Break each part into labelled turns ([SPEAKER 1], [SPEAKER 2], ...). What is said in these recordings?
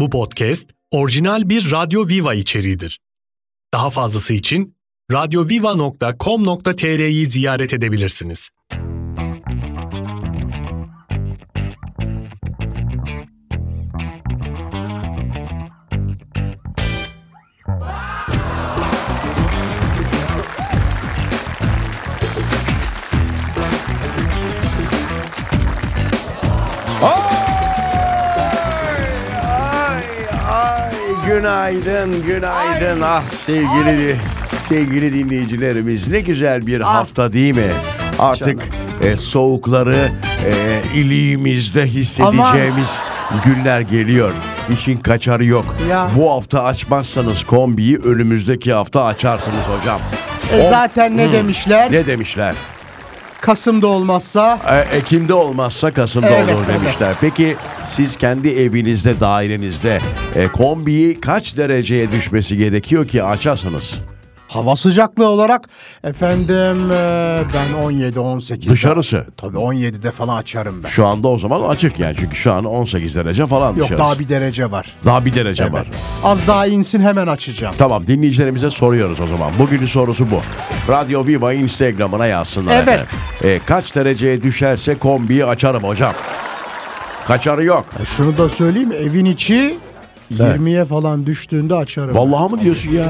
[SPEAKER 1] Bu podcast orijinal bir Radyo Viva içeriğidir. Daha fazlası için radyoviva.com.tr'yi ziyaret edebilirsiniz.
[SPEAKER 2] Ay, ay, günaydın, günaydın. Ah sevgili sevgili dinleyicilerimiz ne güzel bir
[SPEAKER 3] Ah.
[SPEAKER 2] hafta değil mi? Artık e, soğukları e, iliğimizde hissedeceğimiz günler geliyor. İşin kaçarı yok.
[SPEAKER 3] Ya.
[SPEAKER 2] Bu hafta açmazsanız kombiyi önümüzdeki hafta açarsınız hocam.
[SPEAKER 3] E
[SPEAKER 2] O-
[SPEAKER 3] zaten ne demişler?
[SPEAKER 2] Hmm. ne demişler?
[SPEAKER 3] Kasım'da olmazsa
[SPEAKER 2] E, Ekim'de olmazsa Kasım'da
[SPEAKER 3] Evet,
[SPEAKER 2] olur
[SPEAKER 3] evet.
[SPEAKER 2] demişler. Peki siz kendi evinizde, dairenizde e, kombiyi kaç dereceye düşmesi gerekiyor ki açasınız?
[SPEAKER 3] hava sıcaklığı olarak efendim e, ben 17 18
[SPEAKER 2] Dışarısı.
[SPEAKER 3] tabii 17'de falan açarım ben.
[SPEAKER 2] Şu anda o zaman açık yani çünkü şu an 18 derece falan
[SPEAKER 3] Yok
[SPEAKER 2] dışarısı.
[SPEAKER 3] daha bir derece var.
[SPEAKER 2] Daha bir derece var.
[SPEAKER 3] Evet. Az daha insin hemen açacağım.
[SPEAKER 2] Tamam dinleyicilerimize soruyoruz o zaman. Bugünün sorusu bu. Radyo Viva Instagram'ına yazsınlar.
[SPEAKER 3] Evet.
[SPEAKER 2] efendim. E, kaç dereceye düşerse kombiyi açarım hocam. Kaçarı yok.
[SPEAKER 3] E, şunu da söyleyeyim evin içi 20'ye falan düştüğünde açarım.
[SPEAKER 2] Vallahi mı diyorsun ya?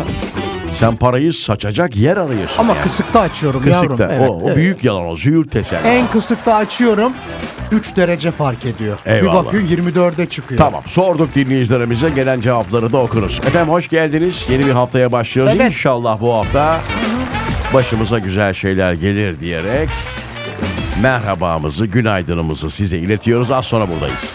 [SPEAKER 2] Sen parayı saçacak yer arıyorsun.
[SPEAKER 3] Ama
[SPEAKER 2] ya.
[SPEAKER 3] kısıkta açıyorum
[SPEAKER 2] Kısıkta.
[SPEAKER 3] yavrum. Evet,
[SPEAKER 2] o, o
[SPEAKER 3] evet.
[SPEAKER 2] büyük yalan o. Züğürt tesellisi.
[SPEAKER 3] En kısıkta açıyorum 3 derece fark ediyor.
[SPEAKER 2] Eyvallah.
[SPEAKER 3] Bir bakıyorsun 24'e çıkıyor.
[SPEAKER 2] Tamam. Sorduk dinleyicilerimize gelen cevapları da okuruz. Efendim hoş geldiniz. Yeni bir haftaya başlıyoruz.
[SPEAKER 3] Evet.
[SPEAKER 2] İnşallah bu hafta başımıza güzel şeyler gelir diyerek merhabamızı, günaydınımızı size iletiyoruz. Az sonra buradayız.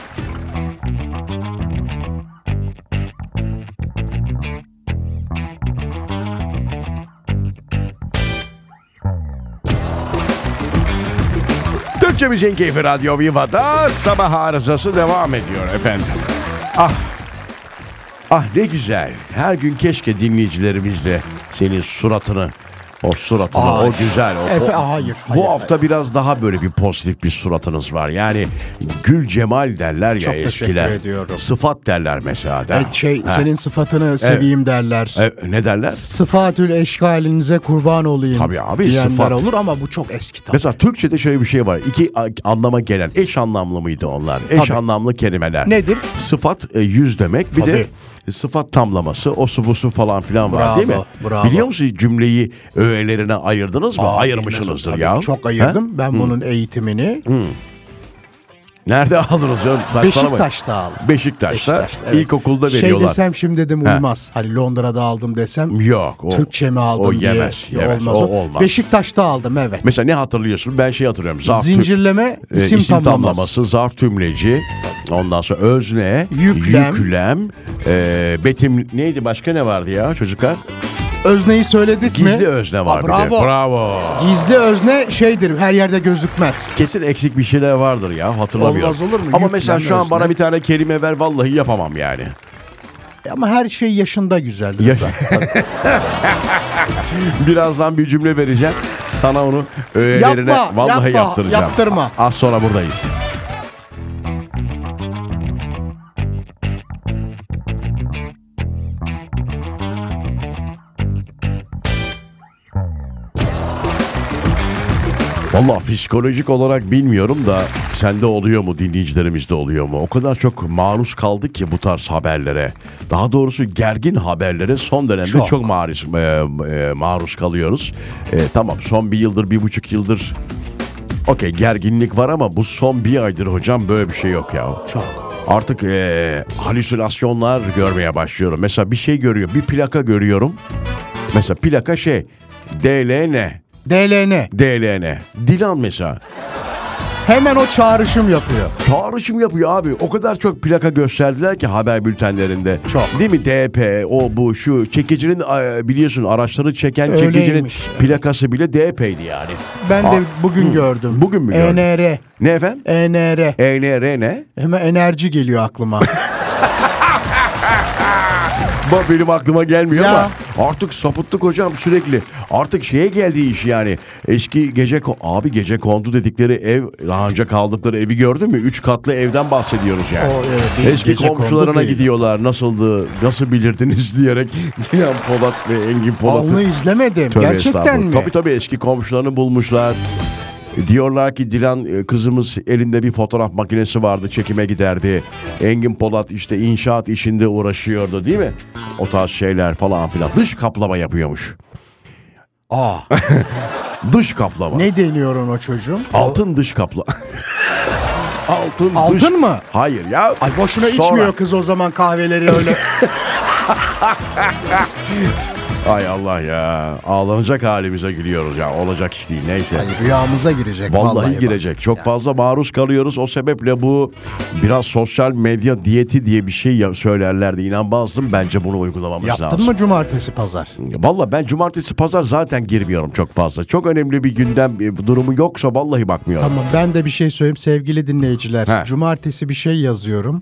[SPEAKER 2] Türkçe Müziğin Keyfi Radyo Viva'da sabah arızası devam ediyor efendim. Ah, ah ne güzel. Her gün keşke dinleyicilerimizle senin suratını, o suratını,
[SPEAKER 3] Ay,
[SPEAKER 2] o güzel, o,
[SPEAKER 3] efe-
[SPEAKER 2] o-
[SPEAKER 3] hayır,
[SPEAKER 2] bu
[SPEAKER 3] hayır,
[SPEAKER 2] hafta biraz daha böyle bir pozitif bir suratınız var. Yani gül cemal derler ya
[SPEAKER 3] Çok teşekkür
[SPEAKER 2] eskiler.
[SPEAKER 3] ediyorum.
[SPEAKER 2] Sıfat derler mesela. da.
[SPEAKER 3] E, şey
[SPEAKER 2] Ha.
[SPEAKER 3] senin sıfatını seveyim derler.
[SPEAKER 2] E, ne derler?
[SPEAKER 3] sıfatül eşkalinize kurban olayım
[SPEAKER 2] Tabii abi,
[SPEAKER 3] diyenler
[SPEAKER 2] sıfat.
[SPEAKER 3] olur ama bu çok eski tabii.
[SPEAKER 2] Mesela Türkçe'de şöyle bir şey var. İki a- anlama gelen eş anlamlı mıydı onlar? Eş
[SPEAKER 3] Tabii.
[SPEAKER 2] anlamlı kelimeler.
[SPEAKER 3] Nedir?
[SPEAKER 2] Sıfat e, yüz demek. Bir de sıfat tamlaması, o su bu su falan filan var
[SPEAKER 3] Bravo,
[SPEAKER 2] değil mi?
[SPEAKER 3] bravo.
[SPEAKER 2] Biliyor musun cümleyi öğelerine ayırdınız mı? Ayırmışsınızdır
[SPEAKER 3] Tabii,
[SPEAKER 2] ya.
[SPEAKER 3] Çok
[SPEAKER 2] He?
[SPEAKER 3] ayırdım ben bunun eğitimini.
[SPEAKER 2] Nerede aldınız canım? Saçmalama.
[SPEAKER 3] Beşiktaş'ta aldım.
[SPEAKER 2] Beşiktaş'ta.
[SPEAKER 3] Beşiktaş'ta, evet.
[SPEAKER 2] İlkokulda
[SPEAKER 3] Şey
[SPEAKER 2] veriyorlar.
[SPEAKER 3] desem şimdi dedim
[SPEAKER 2] He.
[SPEAKER 3] uymaz. Hani Londra'da aldım desem
[SPEAKER 2] Yok. O,
[SPEAKER 3] Türkçe mi aldım
[SPEAKER 2] o
[SPEAKER 3] diye
[SPEAKER 2] yemez,
[SPEAKER 3] ya
[SPEAKER 2] yemez,
[SPEAKER 3] olmaz.
[SPEAKER 2] o
[SPEAKER 3] o.
[SPEAKER 2] olmaz.
[SPEAKER 3] Beşiktaş'ta aldım evet.
[SPEAKER 2] Mesela ne hatırlıyorsun? Ben şey hatırlıyorum. Zarf tüm-
[SPEAKER 3] Zincirleme
[SPEAKER 2] e,
[SPEAKER 3] isim, tamlaması.
[SPEAKER 2] zarf tümleci, ondan sonra özne,
[SPEAKER 3] Yüklem.
[SPEAKER 2] yüklem, e, betim neydi başka ne vardı ya çocuklar?
[SPEAKER 3] Özneyi söyledik mi?
[SPEAKER 2] Gizli özne var
[SPEAKER 3] Aa,
[SPEAKER 2] bir de.
[SPEAKER 3] bravo.
[SPEAKER 2] Bravo.
[SPEAKER 3] Gizli özne şeydir her yerde gözükmez.
[SPEAKER 2] Kesin eksik bir şeyler vardır ya hatırlamıyorum.
[SPEAKER 3] Olmaz olur mu?
[SPEAKER 2] Ama
[SPEAKER 3] Yüklem,
[SPEAKER 2] mesela şu an
[SPEAKER 3] özne.
[SPEAKER 2] bana bir tane kelime ver vallahi yapamam yani.
[SPEAKER 3] Ama her şey yaşında güzeldir.
[SPEAKER 2] Ya-
[SPEAKER 3] zaten.
[SPEAKER 2] Birazdan bir cümle vereceğim. Sana onu öğelerine
[SPEAKER 3] Yapma,
[SPEAKER 2] vallahi
[SPEAKER 3] yapma,
[SPEAKER 2] yaptıracağım.
[SPEAKER 3] yaptırma.
[SPEAKER 2] Az sonra buradayız. Valla psikolojik olarak bilmiyorum da sende oluyor mu dinleyicilerimizde oluyor mu? O kadar çok maruz kaldık ki bu tarz haberlere. Daha doğrusu gergin haberlere son dönemde çok,
[SPEAKER 3] Çok.
[SPEAKER 2] maruz, e, e, maruz kalıyoruz. E, tamam son bir yıldır bir buçuk yıldır okey gerginlik var ama bu son bir aydır hocam böyle bir şey yok ya.
[SPEAKER 3] Çok.
[SPEAKER 2] Artık e, halüsinasyonlar görmeye başlıyorum. Mesela bir şey görüyor bir plaka görüyorum. Mesela plaka şey DLN.
[SPEAKER 3] DLN.
[SPEAKER 2] DLN. Dilan mesela.
[SPEAKER 3] Hemen o çağrışım yapıyor.
[SPEAKER 2] Çağrışım yapıyor abi. O kadar çok plaka gösterdiler ki haber bültenlerinde.
[SPEAKER 3] Çok.
[SPEAKER 2] Değil mi? DP, o bu şu. Çekicinin e, biliyorsun araçları çeken çekicinin
[SPEAKER 3] Öyleymiş.
[SPEAKER 2] plakası bile DP'ydi yani.
[SPEAKER 3] Ben
[SPEAKER 2] Aa,
[SPEAKER 3] de bugün gördüm.
[SPEAKER 2] Bugün mü gördün?
[SPEAKER 3] ENR.
[SPEAKER 2] Ne efendim?
[SPEAKER 3] ENR.
[SPEAKER 2] ENR ne?
[SPEAKER 3] Hemen enerji geliyor aklıma.
[SPEAKER 2] Ba- Benim aklıma gelmiyor
[SPEAKER 3] Ya.
[SPEAKER 2] ama artık sapıttık hocam sürekli. Artık şeye geldi iş yani. Eski gece ko- abi gece kondu dedikleri ev daha önce kaldıkları evi gördün mü? Üç katlı evden bahsediyoruz yani.
[SPEAKER 3] O, evet, değil,
[SPEAKER 2] Eski
[SPEAKER 3] gece kondu
[SPEAKER 2] komşularına
[SPEAKER 3] değil.
[SPEAKER 2] gidiyorlar. Nasıldı? Nasıl bilirdiniz diyerek Diyan Polat ve Engin Polat'ı.
[SPEAKER 3] Onu izlemedim.
[SPEAKER 2] Tövbe
[SPEAKER 3] Gerçekten
[SPEAKER 2] estağfurullah.
[SPEAKER 3] mi?
[SPEAKER 2] Tabii tabii eski komşularını bulmuşlar. Diyorlar ki Dilan e, kızımız elinde bir fotoğraf makinesi vardı çekime giderdi. Engin Polat işte inşaat işinde uğraşıyordu değil mi? O tarz şeyler falan filan. Dış kaplama yapıyormuş.
[SPEAKER 3] Aa,
[SPEAKER 2] Dış kaplama.
[SPEAKER 3] ne deniyor ona çocuğum?
[SPEAKER 2] Altın dış kapla. Altın, dış...
[SPEAKER 3] Aldın mı?
[SPEAKER 2] Hayır ya.
[SPEAKER 3] Ay boşuna
[SPEAKER 2] Sonra-
[SPEAKER 3] içmiyor kız o zaman kahveleri öyle.
[SPEAKER 2] Ay Allah ya. Ağlanacak halimize gülüyoruz ya. Olacak iş değil neyse.
[SPEAKER 3] Ay, rüyamıza girecek.
[SPEAKER 2] Vallahi,
[SPEAKER 3] Vallahi, bak.
[SPEAKER 2] girecek. Çok fazla maruz kalıyoruz. O sebeple bu biraz sosyal medya diyeti diye bir şey ya- söylerlerdi. İnanmazdım. Bence bunu uygulamamız
[SPEAKER 3] Yaptın
[SPEAKER 2] lazım.
[SPEAKER 3] mı cumartesi pazar?
[SPEAKER 2] Valla ben cumartesi pazar zaten girmiyorum çok fazla. Çok önemli bir gündem bir durumu yoksa vallahi bakmıyorum.
[SPEAKER 3] Tamam ben de bir şey söyleyeyim sevgili dinleyiciler.
[SPEAKER 2] He.
[SPEAKER 3] Cumartesi bir şey yazıyorum.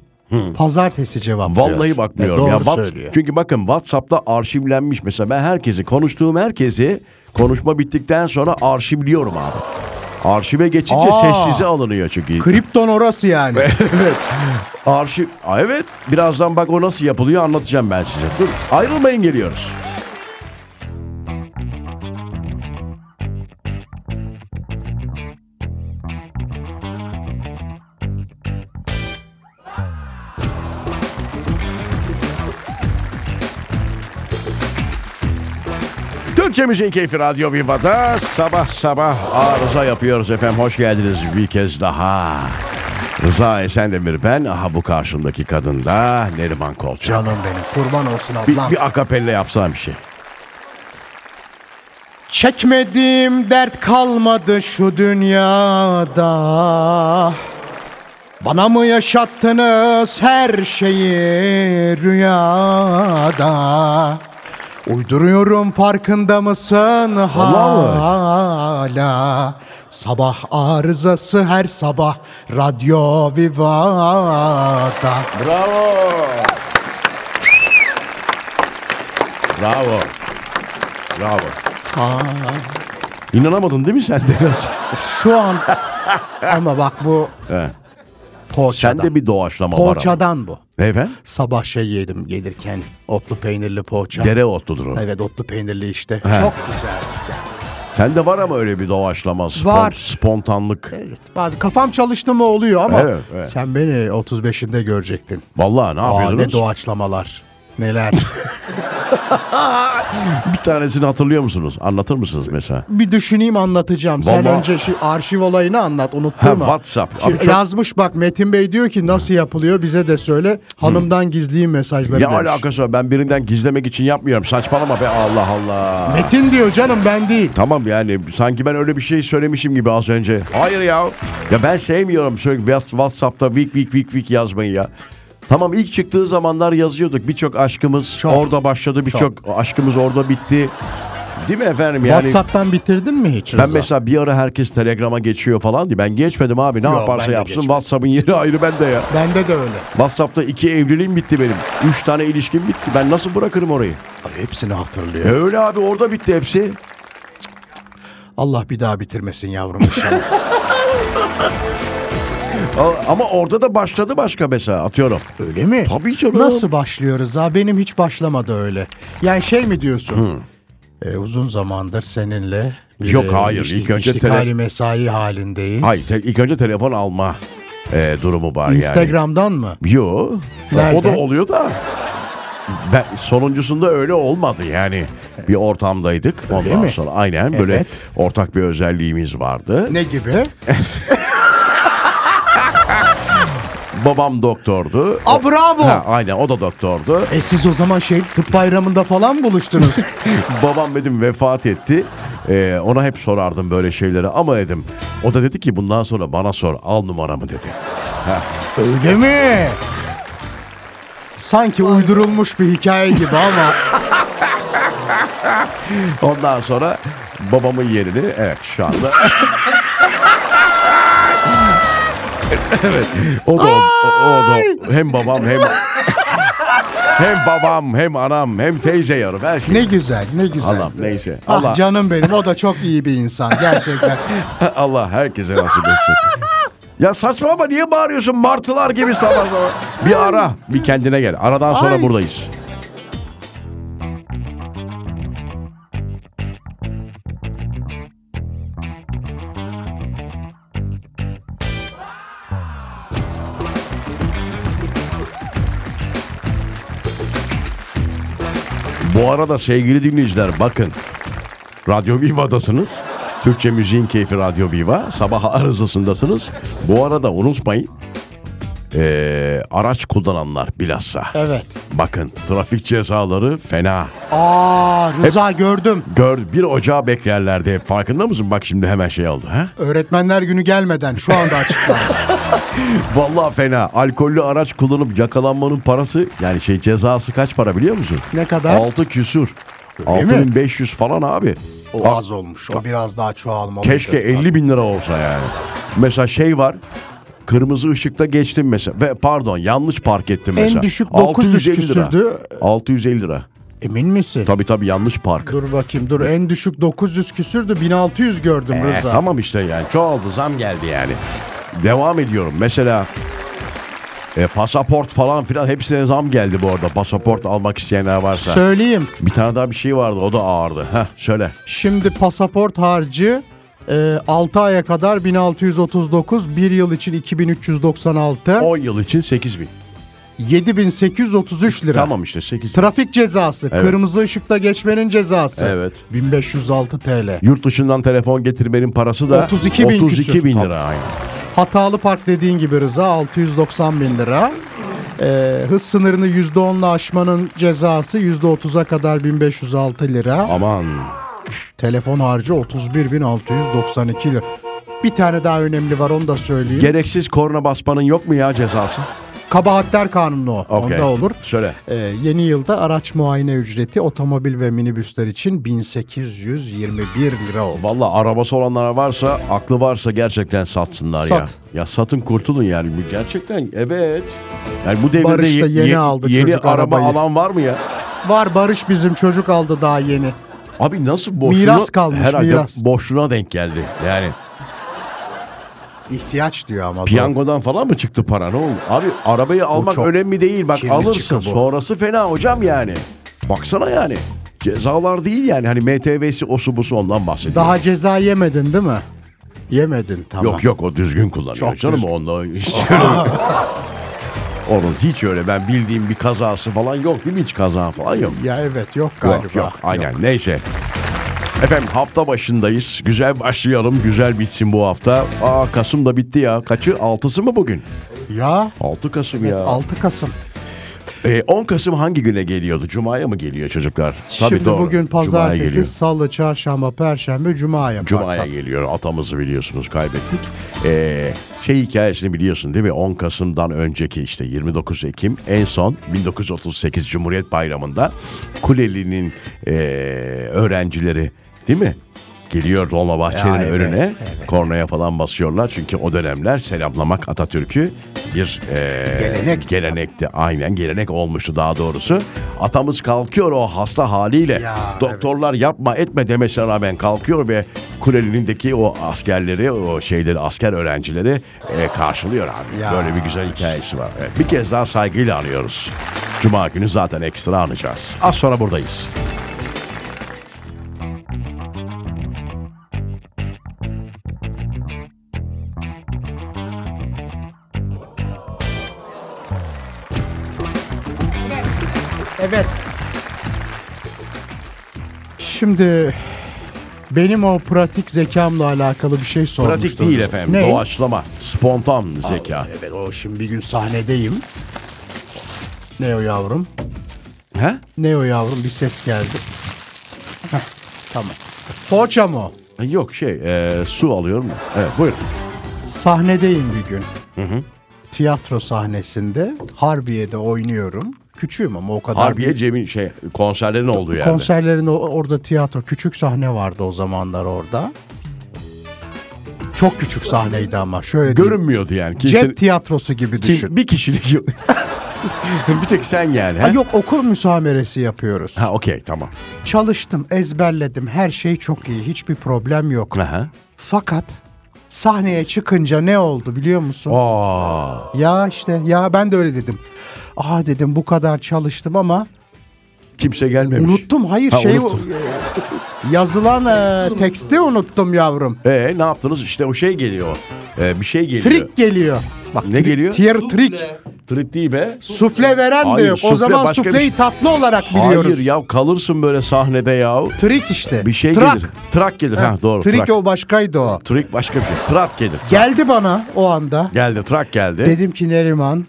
[SPEAKER 3] Pazartesi cevap.
[SPEAKER 2] Vallahi bakmıyorum
[SPEAKER 3] E, doğru
[SPEAKER 2] ya. What-
[SPEAKER 3] söylüyor.
[SPEAKER 2] çünkü bakın WhatsApp'ta arşivlenmiş mesela ben herkesi konuştuğum herkesi konuşma bittikten sonra arşivliyorum abi. Arşive geçince
[SPEAKER 3] Aa.
[SPEAKER 2] sessize alınıyor çünkü.
[SPEAKER 3] Kripton orası yani.
[SPEAKER 2] Arşiv. Aa, evet. Birazdan bak o nasıl yapılıyor anlatacağım ben size. Dur. Ayrılmayın geliyoruz. Türkçe Müziğin Keyfi Radyo Viva'da sabah sabah arıza yapıyoruz efendim. Hoş geldiniz bir kez daha. Rıza Esendemir ben. Aha bu karşımdaki kadın da Neriman Kolçak.
[SPEAKER 3] Canım benim kurban olsun
[SPEAKER 2] Bir,
[SPEAKER 3] ablam.
[SPEAKER 2] bir akapella yapsam bir şey.
[SPEAKER 3] Çekmediğim dert kalmadı şu dünyada. Bana mı yaşattınız her şeyi rüyada? Uyduruyorum farkında mısın
[SPEAKER 2] Vallahi.
[SPEAKER 3] hala? Sabah arızası her sabah Radyo Viva'da.
[SPEAKER 2] Bravo. Bravo. Bravo.
[SPEAKER 3] Aa,
[SPEAKER 2] İnanamadın değil mi sen de biraz?
[SPEAKER 3] şu an ama bak bu
[SPEAKER 2] He.
[SPEAKER 3] poğaçadan.
[SPEAKER 2] Sen de bir doğaçlama var
[SPEAKER 3] poğaçadan bu.
[SPEAKER 2] ama. Efendim?
[SPEAKER 3] Sabah şey yedim gelirken otlu peynirli poğaça.
[SPEAKER 2] Dereotludur o.
[SPEAKER 3] Evet otlu peynirli işte. Çok güzel.
[SPEAKER 2] Sende var ama öyle bir doğaçlama. spon-
[SPEAKER 3] Var.
[SPEAKER 2] Spontanlık.
[SPEAKER 3] Evet bazı kafam çalıştı mı oluyor ama
[SPEAKER 2] Evet, evet.
[SPEAKER 3] sen beni 35'inde görecektin.
[SPEAKER 2] Vallahi ne
[SPEAKER 3] Aa, ne
[SPEAKER 2] yapıyordunuz?
[SPEAKER 3] doğaçlamalar. Neler.
[SPEAKER 2] bir tanesini hatırlıyor musunuz? Anlatır mısınız mesela?
[SPEAKER 3] bir düşüneyim anlatacağım. Sen
[SPEAKER 2] Vallahi-
[SPEAKER 3] önce şey, arşiv olayını anlat
[SPEAKER 2] Ha,
[SPEAKER 3] unutturma.
[SPEAKER 2] WhatsApp. Abi
[SPEAKER 3] Şimdi
[SPEAKER 2] çok-
[SPEAKER 3] yazmış bak Metin Bey diyor ki nasıl yapılıyor bize de söyle. Hanımdan gizleyeyim mesajları
[SPEAKER 2] Ne
[SPEAKER 3] demiş.
[SPEAKER 2] alakası var? Ben birinden gizlemek için yapmıyorum. Saçmalama be Allah Allah.
[SPEAKER 3] Metin diyor canım ben değil.
[SPEAKER 2] Tamam yani sanki ben öyle bir şey söylemişim gibi az önce. Hayır ya. Ya ben sevmiyorum sürekli Whats- WhatsApp'ta vik vik vik vik yazmayı ya. Tamam ilk çıktığı zamanlar yazıyorduk. Birçok aşkımız
[SPEAKER 3] Çok.
[SPEAKER 2] orada başladı. Birçok aşkımız orada bitti. Değil mi efendim? Yani
[SPEAKER 3] WhatsApp'tan bitirdin mi hiç
[SPEAKER 2] ben
[SPEAKER 3] Rıza?
[SPEAKER 2] mesela bir ara herkes Telegram'a geçiyor falan diye. Ben geçmedim abi. Ne
[SPEAKER 3] Yok, ben
[SPEAKER 2] yaparsa
[SPEAKER 3] de
[SPEAKER 2] yapsın.
[SPEAKER 3] geçmedim.
[SPEAKER 2] WhatsApp'ın yeri ayrı bende ya.
[SPEAKER 3] Bende de öyle.
[SPEAKER 2] WhatsApp'ta iki evliliğim bitti benim. Üç tane ilişkim bitti. Ben nasıl bırakırım orayı?
[SPEAKER 3] Abi hepsini hatırlıyor.
[SPEAKER 2] E Öyle abi orada bitti hepsi.
[SPEAKER 3] Allah bir daha bitirmesin yavrum inşallah.
[SPEAKER 2] A- Ama orada da başladı başka mesela atıyorum.
[SPEAKER 3] öyle mi?
[SPEAKER 2] Tabii canım.
[SPEAKER 3] Nasıl başlıyoruz ha? Benim hiç başlamadı öyle. Yani şey mi diyorsun? E, uzun zamandır seninle bir
[SPEAKER 2] Yok,
[SPEAKER 3] de
[SPEAKER 2] hayır.
[SPEAKER 3] işti-
[SPEAKER 2] İlk önce
[SPEAKER 3] iştikali
[SPEAKER 2] tele-
[SPEAKER 3] mesai halindeyiz.
[SPEAKER 2] Hayır te- ilk önce telefon alma e, durumu var yani.
[SPEAKER 3] Instagram'dan mı?
[SPEAKER 2] Yo.
[SPEAKER 3] Nerede?
[SPEAKER 2] O da oluyor da. Ben, sonuncusunda öyle olmadı yani. Bir ortamdaydık.
[SPEAKER 3] Öyle
[SPEAKER 2] Ondan
[SPEAKER 3] mi?
[SPEAKER 2] sonra aynen böyle
[SPEAKER 3] Evet.
[SPEAKER 2] ortak bir özelliğimiz vardı.
[SPEAKER 3] Ne gibi?
[SPEAKER 2] Babam doktordu.
[SPEAKER 3] Aa,
[SPEAKER 2] O-
[SPEAKER 3] bravo.
[SPEAKER 2] Ha, aynen o da doktordu.
[SPEAKER 3] E siz o zaman şey tıp bayramında falan mı buluştunuz?
[SPEAKER 2] Babam dedim vefat etti. E, ona hep sorardım böyle şeyleri ama dedim. O da dedi ki bundan sonra bana sor al numaramı dedi.
[SPEAKER 3] öyle mi? Sanki uydurulmuş bir hikaye gibi ama
[SPEAKER 2] Ondan sonra babamın yerini evet şu anda. evet. O da, o, o da hem babam hem Hem babam hem anam hem teyze yarım her şey.
[SPEAKER 3] Ne güzel, ne güzel.
[SPEAKER 2] Allah'ım, neyse.
[SPEAKER 3] Ah
[SPEAKER 2] Allah.
[SPEAKER 3] canım benim, o da çok iyi bir insan gerçekten.
[SPEAKER 2] Allah herkese nasip etsin. Ya saçma ama niye bağırıyorsun martılar gibi sabah sabah? Bir ara bir kendine gel. Aradan sonra
[SPEAKER 3] Ay.
[SPEAKER 2] buradayız. Bu arada sevgili dinleyiciler bakın. Radyo Viva'dasınız. Türkçe Müziğin Keyfi Radyo Viva. Sabah arızasındasınız. Bu arada unutmayın. ee, araç kullananlar bilhassa.
[SPEAKER 3] Evet.
[SPEAKER 2] Bakın trafik cezaları fena.
[SPEAKER 3] Aa Rıza gördüm.
[SPEAKER 2] Gör bir ocağa beklerlerdi hep. Farkında mısın? Bak şimdi hemen şey oldu. Ha?
[SPEAKER 3] Öğretmenler günü gelmeden şu anda açıklandı.
[SPEAKER 2] Vallahi fena. Alkollü araç kullanıp yakalanmanın parası yani şey cezası kaç para biliyor musun?
[SPEAKER 3] Ne kadar?
[SPEAKER 2] 6 küsür.
[SPEAKER 3] mi?
[SPEAKER 2] 6500 falan abi.
[SPEAKER 3] O az olmuş. O biraz daha çoğalmalı.
[SPEAKER 2] Keşke 50 bin lira olsa yani. Mesela şey var. Kırmızı ışıkta geçtim mesela. Ve pardon yanlış park ettim
[SPEAKER 3] En
[SPEAKER 2] mesela.
[SPEAKER 3] düşük 900 küsürdü.
[SPEAKER 2] lira. 650 lira.
[SPEAKER 3] Emin misin?
[SPEAKER 2] Tabii tabii yanlış park.
[SPEAKER 3] Dur bakayım dur. En düşük 900 küsürdü 1600 gördüm
[SPEAKER 2] Ee,
[SPEAKER 3] Rıza.
[SPEAKER 2] tamam işte yani çoğaldı zam geldi yani. Devam ediyorum mesela e, pasaport falan filan hepsine zam geldi bu arada. Pasaport almak isteyenler varsa.
[SPEAKER 3] Söyleyeyim.
[SPEAKER 2] bir tane daha bir şey vardı o da ağırdı. Heh, söyle.
[SPEAKER 3] Şimdi pasaport harcı 6 aya kadar 1639, 1 yıl için 2396,
[SPEAKER 2] 10 yıl için 8 bin.
[SPEAKER 3] 7833 lira.
[SPEAKER 2] Tamam işte 8
[SPEAKER 3] Trafik cezası, kırmızı ışıkta geçmenin cezası.
[SPEAKER 2] Evet.
[SPEAKER 3] 1506 TL.
[SPEAKER 2] Yurt dışından telefon getirmenin parası da
[SPEAKER 3] 32 bin
[SPEAKER 2] 32
[SPEAKER 3] küsür.
[SPEAKER 2] bin
[SPEAKER 3] Tabii.
[SPEAKER 2] lira. Aynen.
[SPEAKER 3] Hatalı park dediğin gibi Rıza 690 bin lira. Ee, hız sınırını %10'la aşmanın cezası %30'a kadar 1506 lira.
[SPEAKER 2] Aman.
[SPEAKER 3] Telefon harcı 31.692 lira. Bir tane daha önemli var onu da söyleyeyim.
[SPEAKER 2] Gereksiz korna basmanın yok mu ya cezası?
[SPEAKER 3] Kabahatler kanunu o.
[SPEAKER 2] Okey.
[SPEAKER 3] Onda olur.
[SPEAKER 2] Söyle.
[SPEAKER 3] Ee, yeni yılda araç muayene ücreti otomobil ve minibüsler için 1821 lira oldu.
[SPEAKER 2] Valla arabası olanlara varsa, aklı varsa gerçekten satsınlar ya.
[SPEAKER 3] Sat.
[SPEAKER 2] Ya satın kurtulun yani. Bu Gerçekten evet. Yani bu devirde
[SPEAKER 3] Barış da
[SPEAKER 2] ye-
[SPEAKER 3] yeni
[SPEAKER 2] ye-
[SPEAKER 3] aldı
[SPEAKER 2] yeni
[SPEAKER 3] çocuk
[SPEAKER 2] araba
[SPEAKER 3] arabayı.
[SPEAKER 2] alan var mı ya?
[SPEAKER 3] Var Barış bizim çocuk aldı daha yeni.
[SPEAKER 2] Abi nasıl boşluğuna...
[SPEAKER 3] Miras kalmış,
[SPEAKER 2] herhalde
[SPEAKER 3] miras.
[SPEAKER 2] boşluğuna denk geldi. Yani
[SPEAKER 3] İhtiyaç diyor ama.
[SPEAKER 2] piyangodan falan mı çıktı para ne oldu? Abi arabayı almak
[SPEAKER 3] çok
[SPEAKER 2] önemli değil. Bak
[SPEAKER 3] kirli
[SPEAKER 2] alırsın
[SPEAKER 3] çıkı bu.
[SPEAKER 2] sonrası fena hocam yani. Baksana yani. Cezalar değil yani. Hani MTV'si osu busu ondan bahsediyor.
[SPEAKER 3] Daha ceza yemedin değil mi? Yemedin tamam.
[SPEAKER 2] Yok yok o düzgün kullanıyor
[SPEAKER 3] Çok
[SPEAKER 2] canım
[SPEAKER 3] düzgün.
[SPEAKER 2] onda hiç Onun hiç öyle ben bildiğim bir kazası falan yok değil mi hiç kaza falan yok.
[SPEAKER 3] Ya evet yok galiba.
[SPEAKER 2] Yok yok aynen neyse. Efendim hafta başındayız. Güzel başlayalım. Güzel bitsin bu hafta. Aa Kasım da bitti ya. Kaçı? 6'sı mı bugün?
[SPEAKER 3] Ya
[SPEAKER 2] 6 Kasım ya.
[SPEAKER 3] 6 Kasım.
[SPEAKER 2] Ee, 10 Kasım hangi güne geliyordu? Cuma'ya mı geliyor çocuklar?
[SPEAKER 3] Şimdi
[SPEAKER 2] doğru.
[SPEAKER 3] bugün
[SPEAKER 2] Cuma'ya
[SPEAKER 3] pazartesi,
[SPEAKER 2] geliyor.
[SPEAKER 3] salı, çarşamba, perşembe, cuma yapar.
[SPEAKER 2] Cuma'ya geliyor. Atamızı biliyorsunuz kaybettik. Ee, şey hikayesini biliyorsun değil mi? 10 Kasım'dan önceki işte 29 Ekim en son 1938 Cumhuriyet Bayramı'nda Kuleli'nin ee, öğrencileri değil mi? Geliyor Dolmabahçe'nin
[SPEAKER 3] Ya evet,
[SPEAKER 2] önüne kornaya falan basıyorlar. Çünkü o dönemler selamlamak Atatürk'ü bir ee,
[SPEAKER 3] Gelenek.
[SPEAKER 2] gelenekti. Aynen gelenek olmuştu daha doğrusu. Atamız kalkıyor o hasta haliyle.
[SPEAKER 3] Ya,
[SPEAKER 2] Doktorlar yapma etme demesine rağmen kalkıyor ve kuleninindeki o askerleri, o şeyleri, asker öğrencileri e, karşılıyor abi.
[SPEAKER 3] Ya.
[SPEAKER 2] Böyle bir güzel hikayesi var. Evet, bir kez daha saygıyla anıyoruz. Cuma günü zaten ekstra anacağız. Az sonra buradayız.
[SPEAKER 3] Evet. Şimdi benim o pratik zekamla alakalı bir şey sormuştum.
[SPEAKER 2] Pratik değil efendim.
[SPEAKER 3] Ne?
[SPEAKER 2] Doğaçlama, spontan zeka.
[SPEAKER 3] Evet o şimdi bir gün sahnedeyim. Ne o yavrum?
[SPEAKER 2] He?
[SPEAKER 3] Ne o yavrum? Bir ses geldi. Heh, tamam. Poğaça mı? o?
[SPEAKER 2] Yok şey, e, su alıyorum. da. Evet, buyurun.
[SPEAKER 3] Sahnedeyim bir gün. Tiyatro sahnesinde Harbiye'de oynuyorum. Küçüğüm ama o kadar.
[SPEAKER 2] Harbiye Cem'in şey konserlerin olduğu yerde.
[SPEAKER 3] Konserlerin o- orada tiyatro küçük sahne vardı o zamanlar orada. Çok küçük sahneydi ama şöyle diyeyim.
[SPEAKER 2] Görünmüyordu yani. Kimse-
[SPEAKER 3] Cep tiyatrosu gibi
[SPEAKER 2] kim-
[SPEAKER 3] düşün.
[SPEAKER 2] bir kişilik yok. bir tek sen yani.
[SPEAKER 3] Ha,
[SPEAKER 2] Ha,
[SPEAKER 3] yok okul müsameresi yapıyoruz.
[SPEAKER 2] ha okey tamam.
[SPEAKER 3] Çalıştım, ezberledim. Her şey çok iyi. Hiçbir problem yok.
[SPEAKER 2] Aha.
[SPEAKER 3] Fakat sahneye çıkınca ne oldu biliyor musun?
[SPEAKER 2] Aa,
[SPEAKER 3] Ya işte ya ben de öyle dedim. Aa dedim bu kadar çalıştım ama
[SPEAKER 2] kimse gelmemiş.
[SPEAKER 3] unuttum. Hayır
[SPEAKER 2] Ha,
[SPEAKER 3] şey
[SPEAKER 2] unuttun.
[SPEAKER 3] yazılan e, teksti unuttum yavrum.
[SPEAKER 2] Ee, ne yaptınız? İşte o şey geliyor. Ee, bir şey geliyor.
[SPEAKER 3] Trik geliyor. Bak
[SPEAKER 2] Ne geliyor?
[SPEAKER 3] tier trik.
[SPEAKER 2] Trik değil be.
[SPEAKER 3] Sufle veren
[SPEAKER 2] Hayır,
[SPEAKER 3] de yok.
[SPEAKER 2] sufle
[SPEAKER 3] o zaman
[SPEAKER 2] başka bir
[SPEAKER 3] sufleyi
[SPEAKER 2] şey.
[SPEAKER 3] tatlı olarak biliyoruz.
[SPEAKER 2] Hayır ya kalırsın böyle sahnede ya.
[SPEAKER 3] Trik işte.
[SPEAKER 2] Bir şey
[SPEAKER 3] Trak.
[SPEAKER 2] gelir. Trak gelir. Ha, doğru.
[SPEAKER 3] Trik
[SPEAKER 2] trak.
[SPEAKER 3] o başkaydı o.
[SPEAKER 2] Trik başka bir şey. Trak gelir.
[SPEAKER 3] Geldi bana o anda.
[SPEAKER 2] Geldi trak geldi.
[SPEAKER 3] Dedim ki Neriman.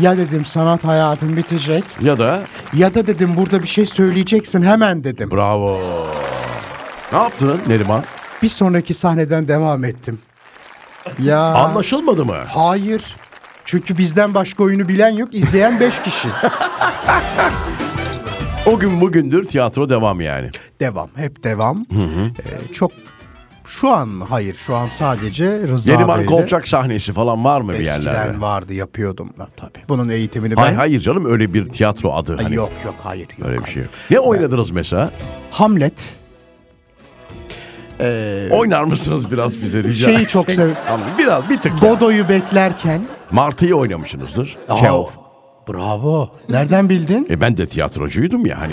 [SPEAKER 3] Ya dedim sanat hayatın bitecek.
[SPEAKER 2] Ya da
[SPEAKER 3] Ya da dedim burada bir şey söyleyeceksin hemen dedim.
[SPEAKER 2] bravo. Ne yaptın Neriman?
[SPEAKER 3] Bir sonraki sahneden devam ettim. Ya.
[SPEAKER 2] Anlaşılmadı mı?
[SPEAKER 3] Hayır. Çünkü bizden başka oyunu bilen yok. izleyen 5 kişi.
[SPEAKER 2] O gün bugündür tiyatro devam yani.
[SPEAKER 3] devam. Hep devam. Ee, çok şu an mı? Hayır. Şu an sadece Rıza
[SPEAKER 2] Neriman
[SPEAKER 3] Bey'le
[SPEAKER 2] Kolçak sahnesi falan var mı bir yerlerde?
[SPEAKER 3] Eskiden vardı yapıyordum ben tabii. Bunun eğitimini ben...
[SPEAKER 2] Hayır hayır canım öyle bir tiyatro adı. Hani
[SPEAKER 3] Yok yok hayır. Yok,
[SPEAKER 2] Öyle bir
[SPEAKER 3] hayır.
[SPEAKER 2] şey yok. Ne oynadınız mesela?
[SPEAKER 3] Hamlet
[SPEAKER 2] Oynar mısınız biraz bize rica
[SPEAKER 3] Şeyi
[SPEAKER 2] etsek?
[SPEAKER 3] çok sev-
[SPEAKER 2] Tamam, Biraz bir tık. ya.
[SPEAKER 3] Godoy'u beklerken.
[SPEAKER 2] Martı'yı oynamışsınızdır.
[SPEAKER 3] Aa,
[SPEAKER 2] Chekhov.
[SPEAKER 3] Bravo. Nereden bildin?
[SPEAKER 2] E ben de tiyatrocuydum ya hani.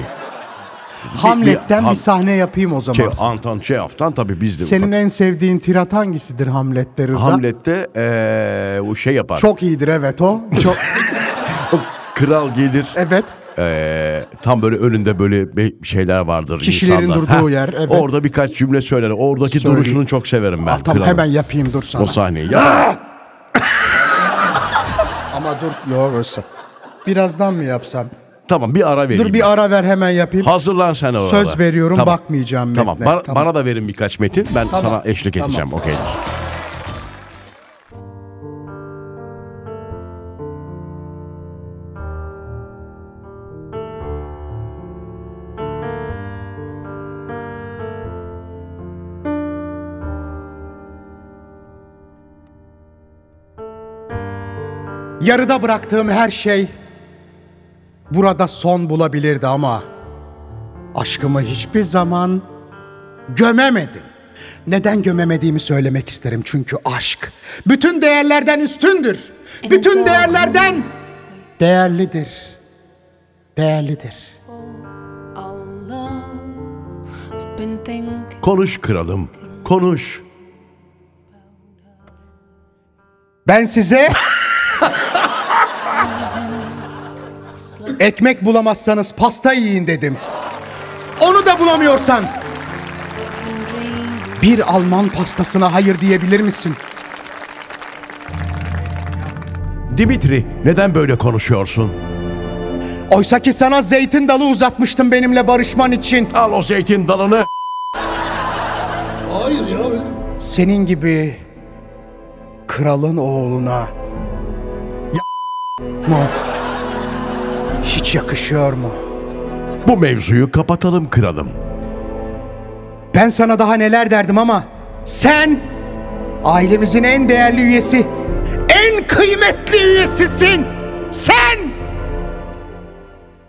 [SPEAKER 3] Hamlet'ten
[SPEAKER 2] Ham-
[SPEAKER 3] bir sahne yapayım o zaman.
[SPEAKER 2] Şey, Anton Çehov'tan tabii biz de
[SPEAKER 3] Senin
[SPEAKER 2] ufak-
[SPEAKER 3] en sevdiğin tirat hangisidir Hamlet'te Rıza?
[SPEAKER 2] Hamlet'te eee, o şey yapar.
[SPEAKER 3] Çok iyidir evet o. Çok
[SPEAKER 2] O kral gelir.
[SPEAKER 3] evet.
[SPEAKER 2] eee, Ee, tam böyle önünde böyle be- şeyler vardır
[SPEAKER 3] Kişilerin
[SPEAKER 2] insanlar.
[SPEAKER 3] durduğu yer, evet.
[SPEAKER 2] Orada birkaç cümle söyler. Oradaki
[SPEAKER 3] Söyleyeyim.
[SPEAKER 2] duruşunu çok severim ben.
[SPEAKER 3] Aa, tamam
[SPEAKER 2] kralın.
[SPEAKER 3] hemen Ah! yapayım dur sana.
[SPEAKER 2] O sahneyi. Ya,
[SPEAKER 3] Ama dur yok olsa. Birazdan mı yapsam?
[SPEAKER 2] tamam bir ara vereyim.
[SPEAKER 3] Dur bir ara ver hemen yapayım.
[SPEAKER 2] Hazırlan sen orada.
[SPEAKER 3] Söz veriyorum,
[SPEAKER 2] Tamam.
[SPEAKER 3] bakmayacağım
[SPEAKER 2] Tamam.
[SPEAKER 3] metne.
[SPEAKER 2] Bana,
[SPEAKER 3] Tamam.
[SPEAKER 2] bana da verin birkaç metin. Ben
[SPEAKER 3] Tamam.
[SPEAKER 2] sana eşlik
[SPEAKER 3] Tamam.
[SPEAKER 2] edeceğim. Okeydir.
[SPEAKER 3] Yarıda bıraktığım her şey burada son bulabilirdi ama aşkımı hiçbir zaman gömemedim. Neden gömemediğimi söylemek isterim çünkü aşk bütün değerlerden üstündür. Bütün değerlerden değerlidir. Değerlidir.
[SPEAKER 4] Our love, I've been thinking
[SPEAKER 2] Konuş kralım. Konuş.
[SPEAKER 3] Ben size ekmek bulamazsanız pasta yiyin dedim. Onu da bulamıyorsan
[SPEAKER 4] dreaming
[SPEAKER 3] bir Alman pastasına hayır diyebilir misin?
[SPEAKER 2] Dimitri neden böyle konuşuyorsun?
[SPEAKER 3] Oysa ki sana zeytin dalı uzatmıştım benimle barışman için.
[SPEAKER 2] Al o zeytin dalını.
[SPEAKER 3] Senin gibi kralın oğluna ya mu hiç yakışıyor mu?
[SPEAKER 2] Bu mevzuyu kapatalım kralım.
[SPEAKER 3] Ben sana daha neler derdim ama sen ailemizin en değerli üyesi, en kıymetli üyesisin. Sen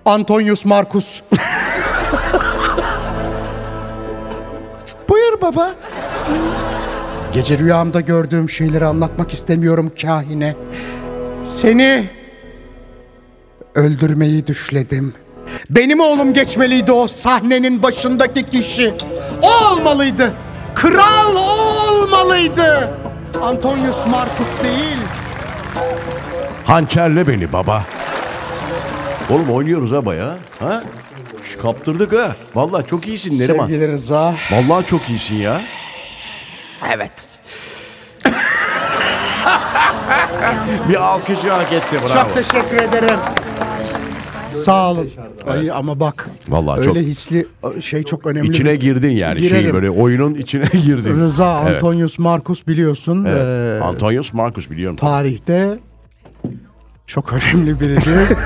[SPEAKER 3] Antonius Marcus. Buyur baba. Gece rüyamda gördüğüm şeyleri anlatmak istemiyorum kahine. Seni öldürmeyi düşledim. Benim oğlum geçmeliydi o sahnenin başındaki kişi. O olmalıydı. Kral o olmalıydı. Antonius Marcus değil.
[SPEAKER 2] Hançerle beni baba. Oğlum oynuyoruz ha baya. Ha? Şş, kaptırdık ha. Vallahi çok iyisin Neriman.
[SPEAKER 3] Sevgili Rıza.
[SPEAKER 2] Vallahi çok iyisin ya.
[SPEAKER 3] Evet.
[SPEAKER 2] Bir alkışı hak etti bravo.
[SPEAKER 3] Çok teşekkür ederim. Sağ olun. Ay ama bak.
[SPEAKER 2] Vallahi
[SPEAKER 3] öyle
[SPEAKER 2] çok-
[SPEAKER 3] hisli şey çok önemli.
[SPEAKER 2] İçine girdin yani şey
[SPEAKER 3] Girerim.
[SPEAKER 2] böyle oyunun içine girdin.
[SPEAKER 3] Rıza
[SPEAKER 2] Evet,
[SPEAKER 3] Antonius Marcus biliyorsun. eee,
[SPEAKER 2] evet. Antonius Marcus biliyorum.
[SPEAKER 3] tarihte çok önemli biriydi.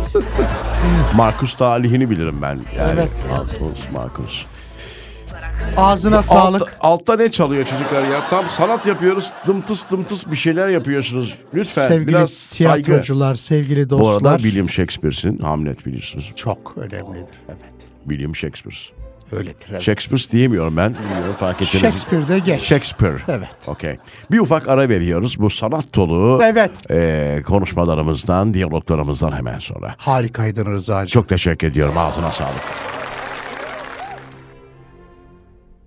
[SPEAKER 2] Marcus talihini bilirim ben. Yani
[SPEAKER 3] Evet.
[SPEAKER 2] Antonius Marcus.
[SPEAKER 4] but I couldn't
[SPEAKER 3] Ağzına
[SPEAKER 2] Alt,
[SPEAKER 3] sağlık.
[SPEAKER 2] altta ne çalıyor çocuklar ya? Tam sanat yapıyoruz. Dımtıs dımtıs bir şeyler yapıyorsunuz. Lütfen
[SPEAKER 3] sevgili
[SPEAKER 2] biraz saygı.
[SPEAKER 3] tiyatrocular, sevgili
[SPEAKER 2] Bu
[SPEAKER 3] dostlar.
[SPEAKER 2] arada William Shakespeare'sin. Hamlet biliyorsunuz.
[SPEAKER 5] Çok önemlidir. Evet.
[SPEAKER 2] William Shakespeare.
[SPEAKER 5] Öyledir. evet.
[SPEAKER 2] Shakespeare diyemiyorum ben. Bilmiyorum fark ettiniz. mi?
[SPEAKER 3] Shakespeare'de geç.
[SPEAKER 2] Shakespeare.
[SPEAKER 3] Evet.
[SPEAKER 2] Okey. Bir ufak ara veriyoruz. Bu sanat dolu
[SPEAKER 3] Evet.
[SPEAKER 2] eee, konuşmalarımızdan, diyaloglarımızdan hemen sonra.
[SPEAKER 3] Harikaydın Rıza'cığım.
[SPEAKER 2] Çok teşekkür ediyorum. Ağzına sağlık.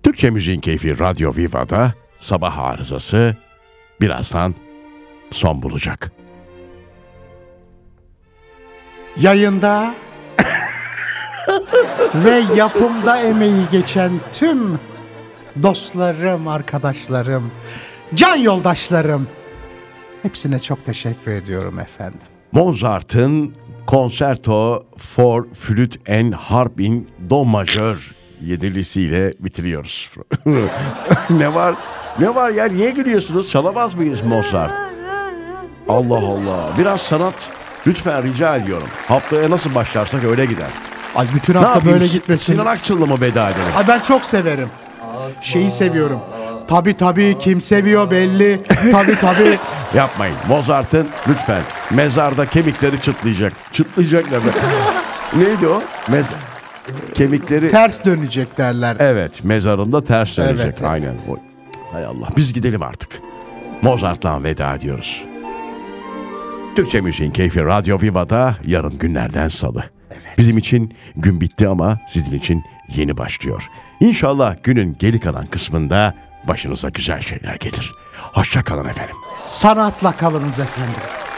[SPEAKER 2] Türkçe Müziğin Keyfi Radyo Viva'da sabah arızası birazdan son bulacak.
[SPEAKER 3] Yayında ve yapımda emeği geçen tüm dostlarım, arkadaşlarım, can yoldaşlarım hepsine çok teşekkür ediyorum efendim.
[SPEAKER 2] Mozart'ın Concerto for Flüt and Harp in Do Majör yedilisiyle bitiriyoruz. ne var? Ne var ya? Niye gülüyorsunuz? Çalamaz mıyız Mozart? Allah Allah. Biraz sanat. Lütfen rica ediyorum. Haftaya nasıl başlarsak öyle gider.
[SPEAKER 3] Ay bütün
[SPEAKER 2] Ne
[SPEAKER 3] hafta
[SPEAKER 2] yapayım?
[SPEAKER 3] böyle gitmesin.
[SPEAKER 2] Sinan Akçıl'la mı veda edelim?
[SPEAKER 3] Ay ben çok severim. Şeyi seviyorum. Tabi tabi kim seviyor belli. Tabi tabi.
[SPEAKER 2] Yapmayın. Mozart'ın lütfen mezarda kemikleri çıtlayacak. Çıtlayacak ne be? Neydi o? Mez kemikleri
[SPEAKER 3] Ters dönecek derler.
[SPEAKER 2] Evet mezarında ters dönecek
[SPEAKER 3] Evet, evet.
[SPEAKER 2] aynen. Oy. Hay Allah biz gidelim artık. Mozart'la veda ediyoruz. Türkçe Müziğin Keyfi Radyo Viva'da yarın günlerden salı. Bizim için gün bitti ama sizin için yeni başlıyor. İnşallah günün geri kalan kısmında başınıza güzel şeyler gelir. Hoşça kalın efendim.
[SPEAKER 3] Sanatla kalınız efendim.